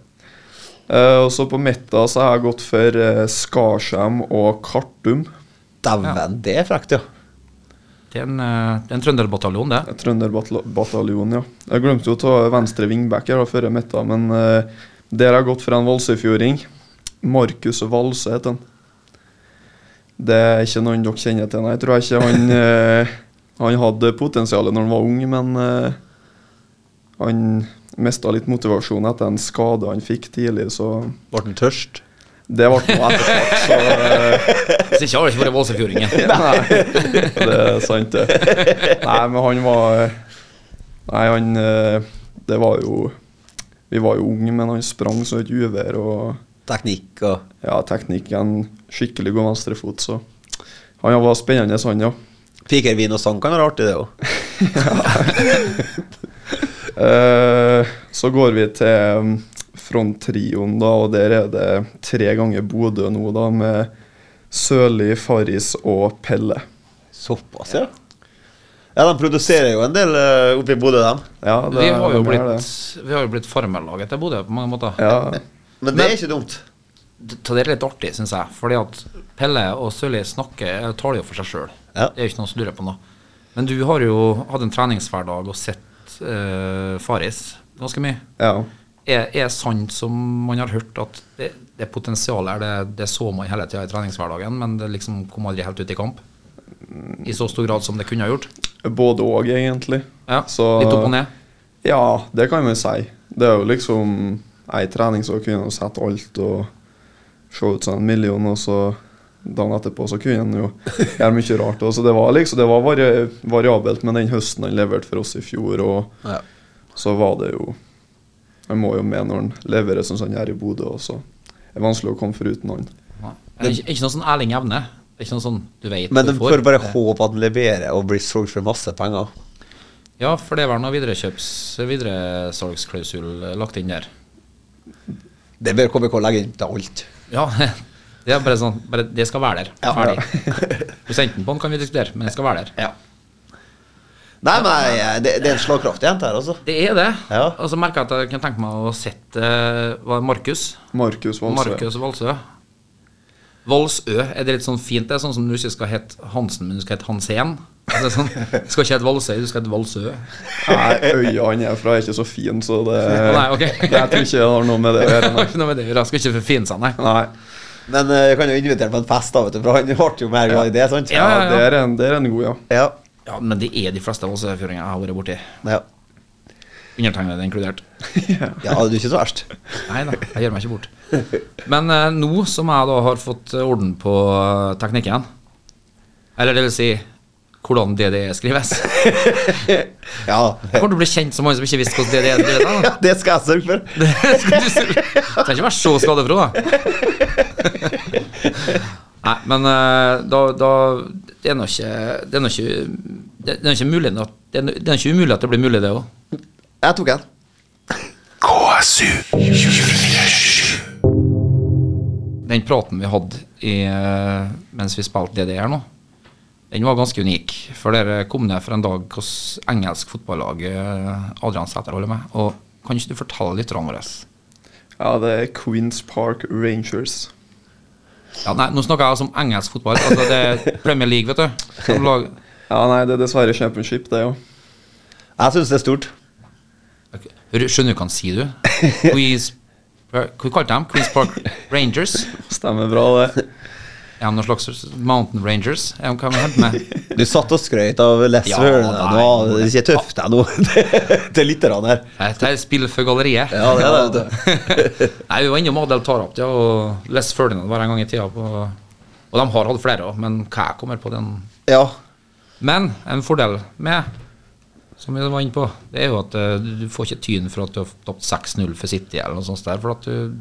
Eh, og så på midten så har jeg gått for eh, Skarsheim og Kartum.
Dæven, det er frekt, ja.
Det er en, eh, det er en trønderbataljon, det.
Trønderbataljonen, ja. Jeg glemte jo å ta venstre wingback her da, før jeg møtte han, men eh, der har jeg gått for en valsøyfjording. Markus Valse heter han. Det er ikke noen dere kjenner til, nei. Jeg tror ikke han eh, Han hadde potensialet når han var ung, men eh, han mista litt motivasjon etter en skade han fikk tidlig, så
Ble han tørst?
det ble noe etterpå. Så eh,
Hvis ikke har det ikke vært Valsefjordingen.
Nei, det er sant, det. Nei, men han var Nei, han eh, Det var jo Vi var jo unge, men han sprang som et uvær. Og
Teknikk og
ja, teknikken skikkelig god venstrefot, så han var spennende, han, ja.
Pikervin og sang kan være artig, det òg.
Eh, så går vi til mm, fronttrioen, da, og der er det tre ganger Bodø nå, da, med Sørli, Farris og Pelle.
Såpass, ja. Ja, De produserer jo en del eh, oppe i Bodø, dem.
Ja, det-
Vi har jo
de er
blitt, vi har jo blitt farmerlaget til Bodø på mange måter.
det. Ja.
Men det er ikke dumt.
Det det er litt artig, syns jeg. Fordi at Pelle og Sørli snakker eh, taler jo for seg sjøl.
Ja.
Det er jo ikke noe som lurer på noe. Men du har jo hatt en treningshverdag og sett eh, Faris ganske mye.
ja.
Er, er sant som man har hørt, at det, det potensialet er det, det så man hele tida i treningshverdagen, men det liksom kom aldri helt ut i kamp? I så stor grad som det kunne ha gjort?
Både òg, egentlig.
Ja,
Så-
Litt opp og ned?
Ja, det kan man si. Det er jo liksom ei trening så kunne han sette alt og se ut som en million, og så dagen etterpå så kunne han jo gjøre mye rart. også. så det var liksom, det var vari variabelt, men den høsten han leverte for oss i fjor, og
Ja.
så var det jo Han må jo med når han leverer sånn som han gjør i Bodø, og så er det vanskelig å komme foruten han.
Ja. Det er ikke, ikke noe sånn Erling Evne. Det er ikke noe sånn du vet
Men
du
de får bare håpe at den leverer og blir solgt for masse penger.
Ja, for det er vel noe viderekjøps- videresalgsklausul eh, lagt inn der.
Det bør KBK legge inn til alt.
Ja, det er bare sånn bare, Det skal være der.
Ja.
Ferdig. Prosenten på den kan vi diskutere, men den skal være der.
Ja. Nei, men jeg- det, det er en slagkraftig jente her, altså.
Det er det.
Ja.
Og så merker jeg at jeg kan tenke meg å sette eh, var det Markus.
Markus Walsø.
Markus Valsø. Valsø, er det litt sånn fint? Det er sånn som du ikke skal hete Hansen, men du skal hete Hansen. Det er sånn, du skal ikke hete Valsøy, du skal hete Valsø.
Nei, øya han er fra er ikke så fin, så det
Å, nei, ok.
Jeg tror ikke det har noe med det å
Det
gjøre.
har
nei.
ikke noe med det å gjøre. Skal ikke forfine seg, nei.
Nei.
Men eh, jeg kan jo invitere på en fest, da, vet du, for han ble jo mer glad i det, sant?
Ja, ja, ja.
Det, er en, det er en god, ja.
Ja.
Ja, men det er de fleste valsøyfjordinger jeg har vært borti.
ja.
Undertegnede inkludert.
Ja, du er ikke så verst.
Nei da, jeg gjør meg ikke bort. Men eh, nå som jeg da har fått eh, orden på eh, teknikken, eller det vil si hvordan DDE skrives Jeg
Ja.
kommer til å bli kjent som han som ikke visste hvordan E DDE skrives.
ja, det skal jeg sørge for.
Det skal du si. Du trenger ikke være så skadefro, da. Nei, men eh, da, da Det er nå ikke Det er nå ikke, det er nå ikke mulig nå- Det er nå- det er nå ikke umulig at det blir mulig, det òg.
Jeg tok en.
KSU
den praten vi hadde i, eh, mens vi spilte DDR nå, den var ganske unik. For dere kom ned for en dag hos engelsk fotballag eh, Adrian Sæter holder med. Og kan ikke du fortelle litt om vårt?
Ja, det er Queens Park Rangers.
Ja, nei, nå snakker jeg altså om engelsk fotball. Altså det er Premier League, vet du. Som lag.
Ja, nei, det er dessverre championship, det, jo.
Jeg syns det er stort.
Ok, Hør- Skjønner du hva han sier, du? Queens Hva kalte de dem? Queens Park Rangers?
Stemmer bra, det.
Er de noen slags Mountain Rangers? Er de hva de henter med?
Du satt og skrøt av Les
Ja,
Vernon.
nei,
Nå
det-
det er ikke tøft deg nå til- til lytterne her.
Dette er spill for galleriet.
Ja, det er det,
Nei, Vi var innom Adel Tarap ja, og Les Ferdinand var en gang i tida. På, og de har hatt flere òg, men hva jeg kommer på den
Ja.
Men en fordel med, som vi var inne på, det er jo at eh, du du får ikke tyn for at du har tapt 6-0 for City eller noe sånt der. For at du,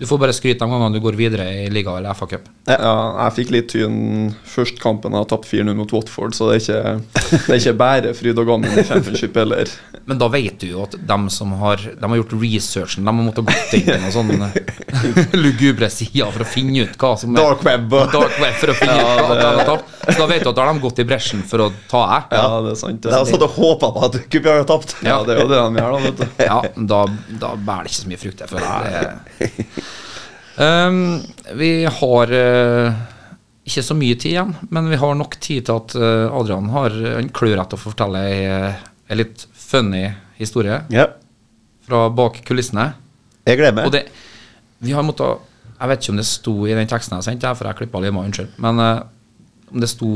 du får bare skryt de gangene du går videre i liga eller FA-cup.
Ja, jeg fikk litt tyn først kampen. Jeg tapte 4-0 mot Watford, så det er ikke, det er ikke bare fryd og gammen i championship heller.
Men da vet du jo at dem som har, dem har gjort researchen, de har måttet gått inn på noen sånne lugubre sider for å finne ut hva som er
Dark web. og-
Dark web for å finne ut hva de har tapt. Så da vet du at da har de gått i bresjen for å ta deg.
Ja, det er sant.
Jeg har
Det.
satt og håpa på at Kupi har tapt.
Ja, det er jo det de gjør, da. vet du
Ja, da, da bærer det ikke så mye frukt. Jeg føler det. Um, vi har eh, ikke så mye tid igjen, men vi har nok tid til at eh, Adrian har eh, en klør etter å fortelle ei, eh, ei litt funny historie
Ja.
fra bak kulissene.
Jeg gleder meg.
Og det, vi har måttet Jeg vet ikke om det sto i den teksten jeg sendte, her, for jeg klippa litt, med, unnskyld. Men eh, om det sto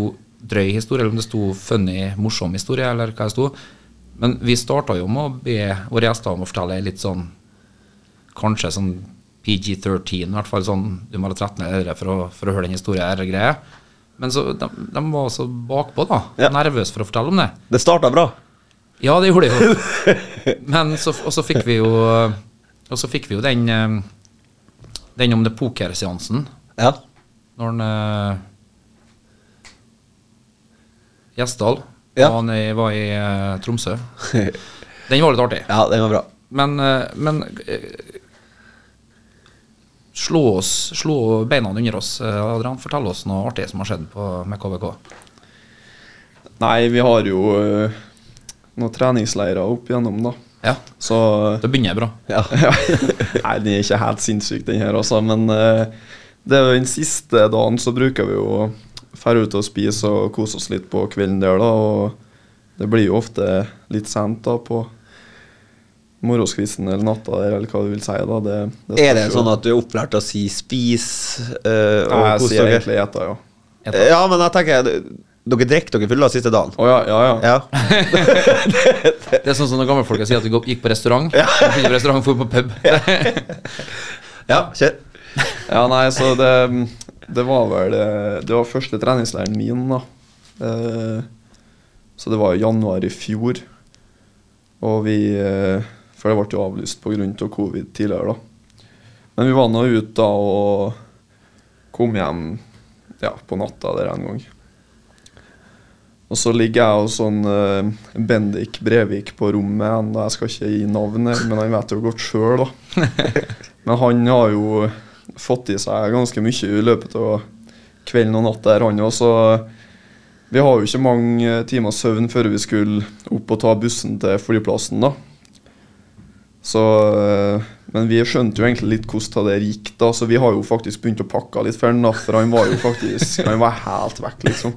drøy historie, eller om det sto funny, morsom historie, eller hva det sto. Men vi starta jo med å be våre gjester om å fortelle litt sånn Kanskje sånn PG-13, i hvert fall sånn du må ha 13 øre for, å- for å høre den historien her og greia. Men så, de, de var så bakpå, da.
Ja.
Nervøse for å fortelle om det.
Det starta bra.
Ja, det gjorde det jo. Men så, og så fikk vi jo eh, Og så fikk vi jo den eh, Den om det pokerseansen
Ja.
når han eh, Gjesdal
Ja.
og han i- var i eh, Tromsø. Den var litt artig.
ja, den var bra.
Men, eh, men eh, slå, oss, slå beina under oss, eh, Adrian. Fortell oss noe artig som har skjedd på, med KVK.
Nei, vi har jo eh, noen treningsleirer opp igjennom, da.
Ja,
Så eh,
Da begynner jeg bra.
Ja.
ja. Nei, den er ikke helt sinnssyk, den her, altså. Men eh, det er jo den siste dagen så bruker vi jo å dra ut og spise og kose oss litt på kvelden der, da. Og det blir jo ofte litt sent da på morgenskvisten eller natta der, eller hva du vil si, da. Det,
Er det sånn at du er opplært til å si 'spis' eh, og
Jeg
kos
sier
dere?
egentlig gjetta, ja.
Ja, men jeg tenker Dere drikker dere fulle siste dagen.
Å ja, ja, ja.
Ja.
Det er sånn som når gamle folk sier at du går- gikk på restaurant. Ja. På restaurant for på pub.
ja, kjør.
Ja, nei, så det, det var vel eh, Det var første treningsleiren min, da. Eh, Så det var i januar i fjor. Og vi eh, For det ble jo avlyst pga. Av covid tidligere, da. Men vi var nå ute da og kom hjem ja, på natta der en gang. Og så ligger jeg og sånn eh, Bendik Brevik på rommet. Han, da, jeg skal ikke gi navnet, men han vet jo godt sjøl, da. Men han har jo fått i seg ganske mye i løpet av kvelden og natta, her, han òg, så vi har jo ikke mange timer søvn før vi skulle opp og ta bussen til flyplassen, da. Så, eh, men vi skjønte jo egentlig litt hvordan det der gikk, da, så vi har jo faktisk begynt å pakke litt for han, da, for han var jo faktisk Han var helt vekk, liksom.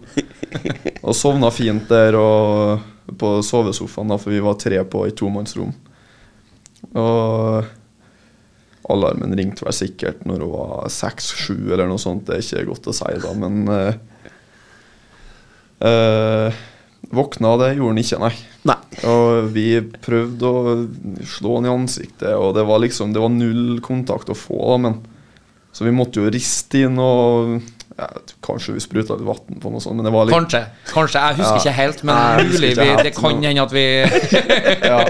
Og sovna fint der og på sovesofaen, da, for vi var tre på et tomannsrom. Og alarmen ringte vel sikkert når hun var seks-sju eller noe sånt, det er ikke godt å si da, men eh, eh, Våkna, det gjorde han ikke, nei.
Nei.
Og vi prøvde å slå han i ansiktet, og det var liksom Det var null kontakt å få, da, men Så vi måtte jo riste inn og ja, Kanskje vi spruta litt vann på noe sånt, men det var litt
Kanskje. Kanskje, Jeg husker
Ja.
ikke helt, men
Nei, jeg husker
mulig
ikke
vi,
helt,
det kan
men-
hende at vi
ja.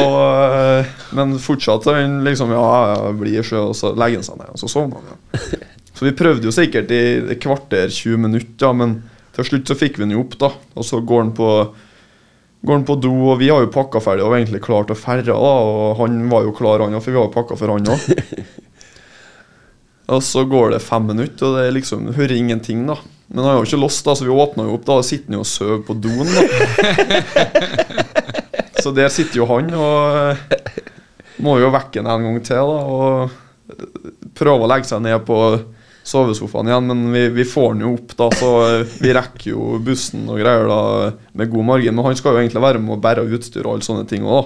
og, eh, men fortsatt så han liksom, ja, ja, blir sjø, og så legger han seg ned, og så sovner han igjen. Så vi prøvde jo sikkert i et kvarter, 20 minutter, men til slutt så fikk vi han jo opp, da. Og så går han på, går han på do, og vi har jo pakka ferdig og var egentlig klar til å ferde, da, og han var jo klar, han òg, for vi har jo pakka for han òg. Og så går det fem minutter, og det er liksom, du hører ingenting, da. Men han har jo ikke låst, da, så vi åpna jo opp, da, og sitter han jo og sover på doen, da. Så der sitter jo han og eh, må jo vekke han en gang til da, og eh, prøve å legge seg ned på sovesofaen igjen, men vi, vi får han jo opp, da, så eh, vi rekker jo bussen og greier da med god margin. Men han skal jo egentlig være med og bære utstyr og alle sånne ting òg, da.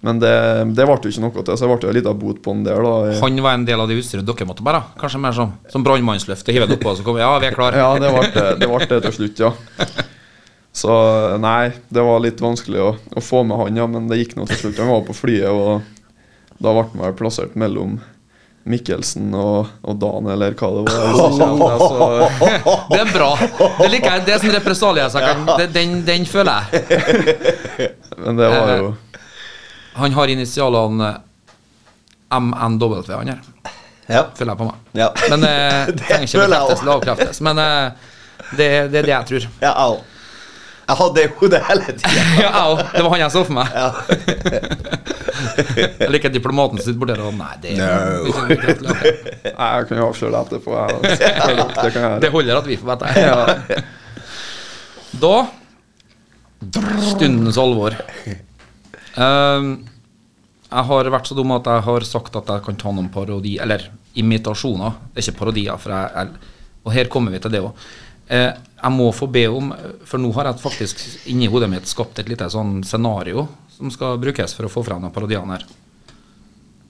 Men det, det ble jo ikke noe til, så det ble jo en liten bot på han der, da. i-
Han var en del av det utstyret dere måtte bære? Kanskje mer som, som brannmannsløftet? Hive det oppå, så kommer Ja, vi er klare.
Ja, det ble det, ble det til slutt, ja. Så nei, det var litt vanskelig å, å få med han, ja, men det gikk nå til slutt. Han var på flyet, og da ble han vel plassert mellom Mikkelsen og, og Dan, eller hva det var. hvis ikke jeg husker det,
Det er bra. Det liker jeg. Det er sånn represalie. så jeg kan- det- Den, den føler jeg.
Så, men det var jo
Han har initialene MNW, han her.
Ja.
Føler jeg på meg.
Ja.
Men eh,
Det
trenger ikke
føler jeg
bekreftes
også.
eller avkreftes. Men eh, det, det er det jeg tror.
ja au. Jeg hadde det i hodet hele tida.
ja, au, det var han jeg så for meg. jeg liker diplomaten sitt borti der og Nei, det, er-
No.
vi kan bekrefte det.
Nei, jeg kan jo avsløre det etterpå. Jeg, altså. det kan jeg
det
gjøre.
holder at vi får vite det. Da Stundens alvor. Ehm, jeg har vært så dum at jeg har sagt at jeg kan ta noen parodi, eller imitasjoner. Det er ikke parodier, for jeg, jeg, og her kommer vi til det òg. jeg må få be om, for nå har jeg faktisk inni hodet mitt skapt et lite sånn scenario som skal brukes for å få frem de parodiene her.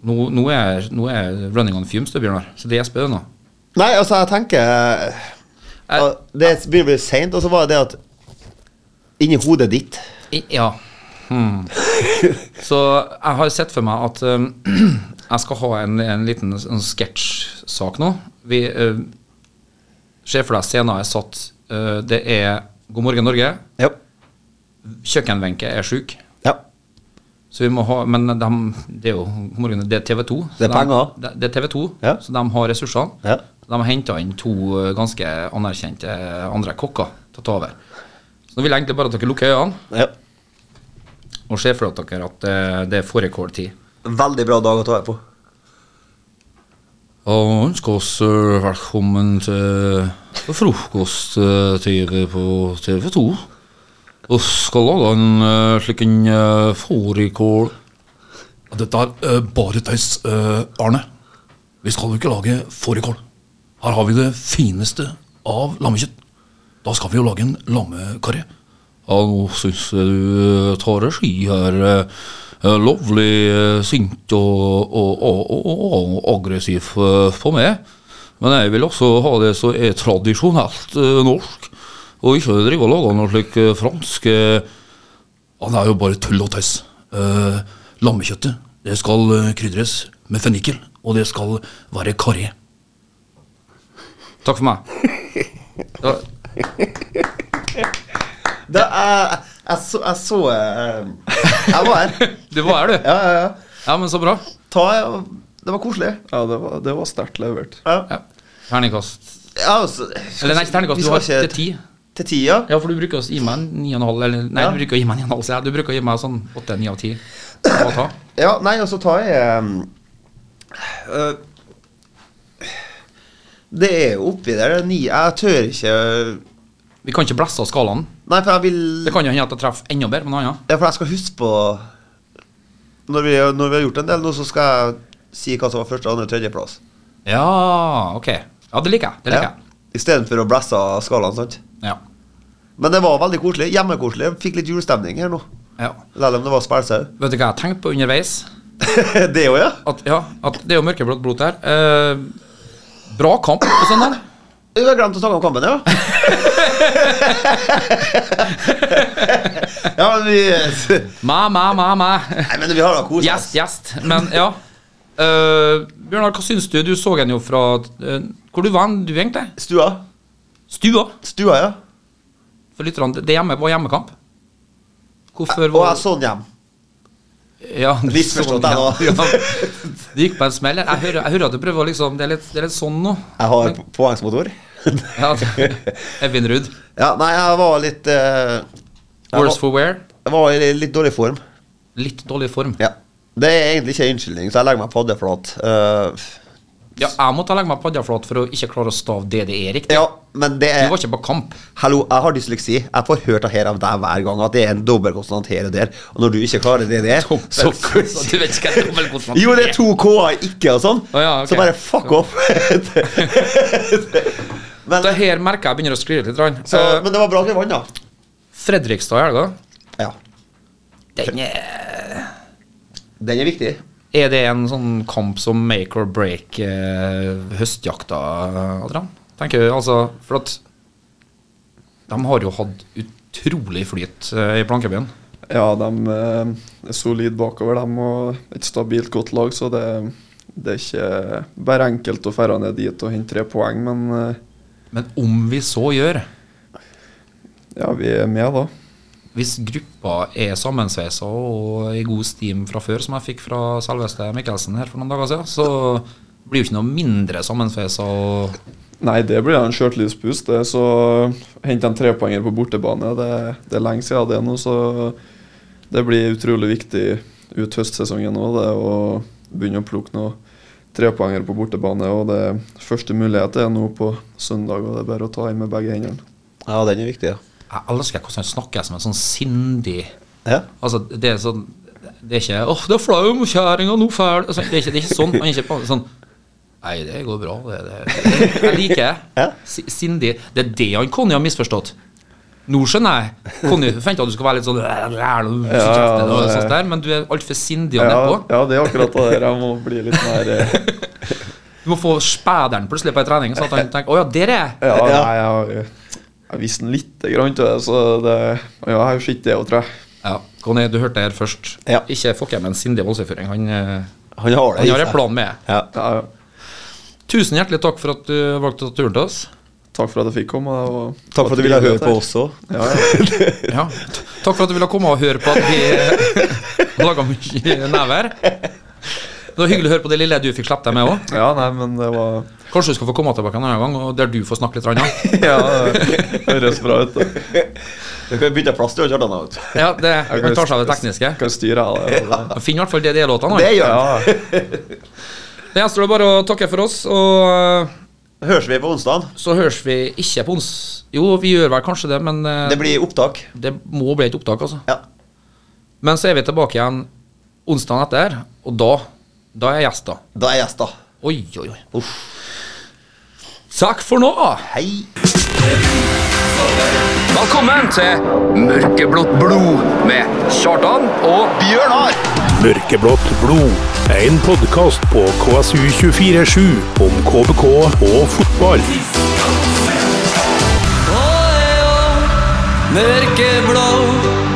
Nå, nå, er, nå er running on fumes, du, Bjørnar. Så det er spennende.
Nei, altså, jeg tenker
Jeg-
og Det blir vel seint, og så var det det at Inni hodet ditt
I- Ja. Hmm. Så jeg har sett for meg at um, jeg skal ha en, en liten sånn sketsjsak nå. Vi uh, ser for deg scenen er satt. eh, det er God morgen, Norge.
Ja.
Kjøkkenbenke er sjuk.
ja.
Så vi må ha, men dem- det er jo God morgen, det er TV 2.
Det er penger.
De, det er TV 2,
Ja.
så de har ressursene.
Ja.
De har henta inn to eh, ganske anerkjente eh, andre kokker til å ta over. Så nå vil jeg egentlig bare at dere lukker øynene.
ja.
Og se for dere at eh, det er fårikåltid.
Veldig bra dag å ta vare på.
Og ønsker oss eh, velkommen til frokost-TV på TV 2. Og skal lage en eh, slik en eh, fårikål
Dette er eh, bare tøys, eh, Arne. Vi skal jo ikke lage fårikål. Her har vi det fineste av lammekjøtt. Da skal vi jo lage en lammekarri. Ja, nå syns jeg du eh, tar regi her. Eh, eh, lovlig eh, sint og, og, og, og, og aggressiv eh, på meg. Men jeg vil også ha det som er tradisjonelt eh, norsk, og ikke drive og lage noe slik eh, fransk eh, ja, det er jo bare tull og tøys. Eh, lammekjøttet det skal eh, krydres med fennikel, og det skal være karri.
Takk for meg. Da,
Da, jeg, jeg så Jeg, så, eh, jeg var her.
du var her, du.
Ja, ja, ja.
Ja, men så bra.
Ta, det var koselig.
Ja, det var, det var sterkt levert.
Ja. Terningkast
Ja, altså,
Eller nei, ikke terningkast,
vi
du
skal
har til
ikke-
ti.
Til ti, ja.
Ja, for du bruker å gi meg en ni og en halv, eller Nei,
Ja.
du bruker å gi meg en ni og en halv, sier jeg. Du bruker å gi meg sånn åtte, ni av ti. å ta.
Ja, nei, og så tar jeg ehm, øh, Det er jo oppi der. det er Ni, jeg tør ikke
Vi kan ikke blæsse av skalaen.
Nei, for jeg vil
Det kan jo hende at jeg treffer enda bedre med noe annet.
Ja, for jeg skal huske på Når vi, når vi har gjort en del nå, så skal jeg si hva som var første, andre, tredjeplass.
Ja, ok. Ja, det liker jeg. Det liker
Ja.
jeg.
Istedenfor å blæsse av skalaen, sant.
Ja.
Men det var veldig koselig. Hjemmekoselig. Jeg Fikk litt julestemning her nå.
ja.
Selv om det var spælsau.
Vet du hva jeg har tenkt på underveis?
det òg, ja?
At, ja, at det er jo mørkeblått blod der. Eh, bra kamp sånn på søndag.
Jeg har glemt å snakke om kampen, ja. ja, men vi
Mæ, mæ, mæ, mæ.
Nei, men vi har da kosa
Gjest, gjest. Men ja. Eh, Bjørnar, hva syns du? Du så den jo fra eh, Hvor du var hen, du egentlig?
Stua.
Stua?
Stua, ja.
For lytterne, det- det hjemme var hjemmekamp. Hvorfor
Og
var
jeg sånn så den hjem.
Ja, du
altså,
så
Misforstått,
den,
jeg nå.
ja. Du gikk på en smell. her. Jeg hører, jeg hører at du prøver å liksom Det er litt, det er litt sånn nå.
Jeg har påhengsmotor.
Ja, Evin Ruud.
ja, nei, jeg var litt eh, jeg,
Worse
var,
for wear.
jeg var i litt dårlig form.
Litt dårlig form.
Ja. Det er egentlig ikke en unnskyldning, så jeg legger meg paddeflat. Eh,
Ja, jeg måtte legge meg paddeflat for å ikke klare å stave det det er riktig.
ja, men det
Du
er
var ikke på kamp.
Hallo, jeg har dysleksi. Jeg får hørt det her av deg hver gang, at det er en dobbeltkonsonant her og der. Og når du ikke klarer det der, så
Så du vet ikke hva dobbeltkonsonant
Jo, det er to K-er ikke og sånn.
Å ja, ok.
Så bare fuck off. men,
Det her merker jeg begynner å skli ut litt. grann.
så,
Eh,
men det var bra at vi vant, da.
Fredrikstad i helga,
Ja.
den er
Den er viktig.
Er det en sånn kamp som make or break eh, høstjakta, Adrian? Tenker jeg, altså, For at de har jo hatt utrolig flyt eh, i Plankebyen.
Ja, de eh, er solid bakover dem og et stabilt godt lag, så det, det er ikke bare enkelt å ferde ned dit og hente tre poeng, men eh,
Men om vi så gjør,
ja, vi er med, da.
hvis gruppa er sammensveisa og i god steam fra før, som jeg fikk fra selveste Mikkelsen her for noen dager siden, så blir jo ikke noe mindre sammensveisa og
Nei, det blir en sjøltillitspust. det, Så henter de trepoenger på bortebane. Det, det er lenge siden det nå, så det blir utrolig viktig ut høstsesongen nå det å begynne å plukke noen trepoenger på bortebane. Og det første mulighet er nå på søndag, og det er bare å ta i med begge hendene.
Ja, den er viktig, ja.
Jeg elsker hvordan han snakker som en sånn sindig
Ja.
Altså, det er sånn Det er ikke 'Åh, det er flaum, kjerringa, nå fæl'. Altså, det, er ikke- det er ikke sånn. Han er ikke på, sånn Nei, det går bra. Det, det, det, jeg liker det.
Ja.
Si- Sindig. Det er det han Conny har misforstått. Nå skjønner jeg. Conny forventa at du skulle være litt sånn
ja,
og
det-
sånt der, Men du er altfor sindig og
Ja,
nedpå.
ja, det er akkurat det der. Jeg må bli litt mer eh,
Du må få spæderen plutselig på en trening, så at han tenker 'Å ja, der er jeg'.
Ja, nei, jeg har jeg visste den lite grann til det, så det Ja, jeg har jo sett det òg, tror jeg.
Ja, Conny, du hørte det her først.
Ja.
Ikke fuck jeg med en sindig voldserføring. Han, eh,
Han har det.
han
i
har
seg.
en plan med det.
Ja.
Ja, ja.
Tusen hjertelig takk for at du valgte å ta turen til oss.
Takk for at jeg fikk komme. og-
Takk for at du ville høre på oss òg.
Ja,
Ja.
ja.
t- Takk for at du ville komme og høre på at vi laga mye nevær. Det var hyggelig å høre på det lille du fikk slippe deg med òg.
ja, nei, men det var
Kanskje du skal få komme tilbake en annen gang, og der du får snakke litt. Ranna.
Ja, det høres bra ut. da.
Du kan bytte plass til Kjartan. da, vet du.
Ja, det, Han tar seg av det tekniske.
Kan styre jeg det.
Han finner i hvert fall det de er låtene.
Det
han.
gjør han.
Ja,
Det gjenstår det bare å takke for oss, og eh,
Høres vi på onsdag?
så høres vi ikke på ons... Jo, vi gjør vel kanskje det, men eh,
Det blir opptak.
det må bli et opptak, altså.
Ja.
Men så er vi tilbake igjen onsdagen etter, og da, da er jeg gjest, da.
Da er gjest, da.
Oi, oi, oi. Takk for nå.
Hei.
Velkommen til Mørkeblått blod med Kjartan og
Bjørnar!
Mørkeblått blod er en podkast på KSU247 om KBK og fotball.
Mørkeblå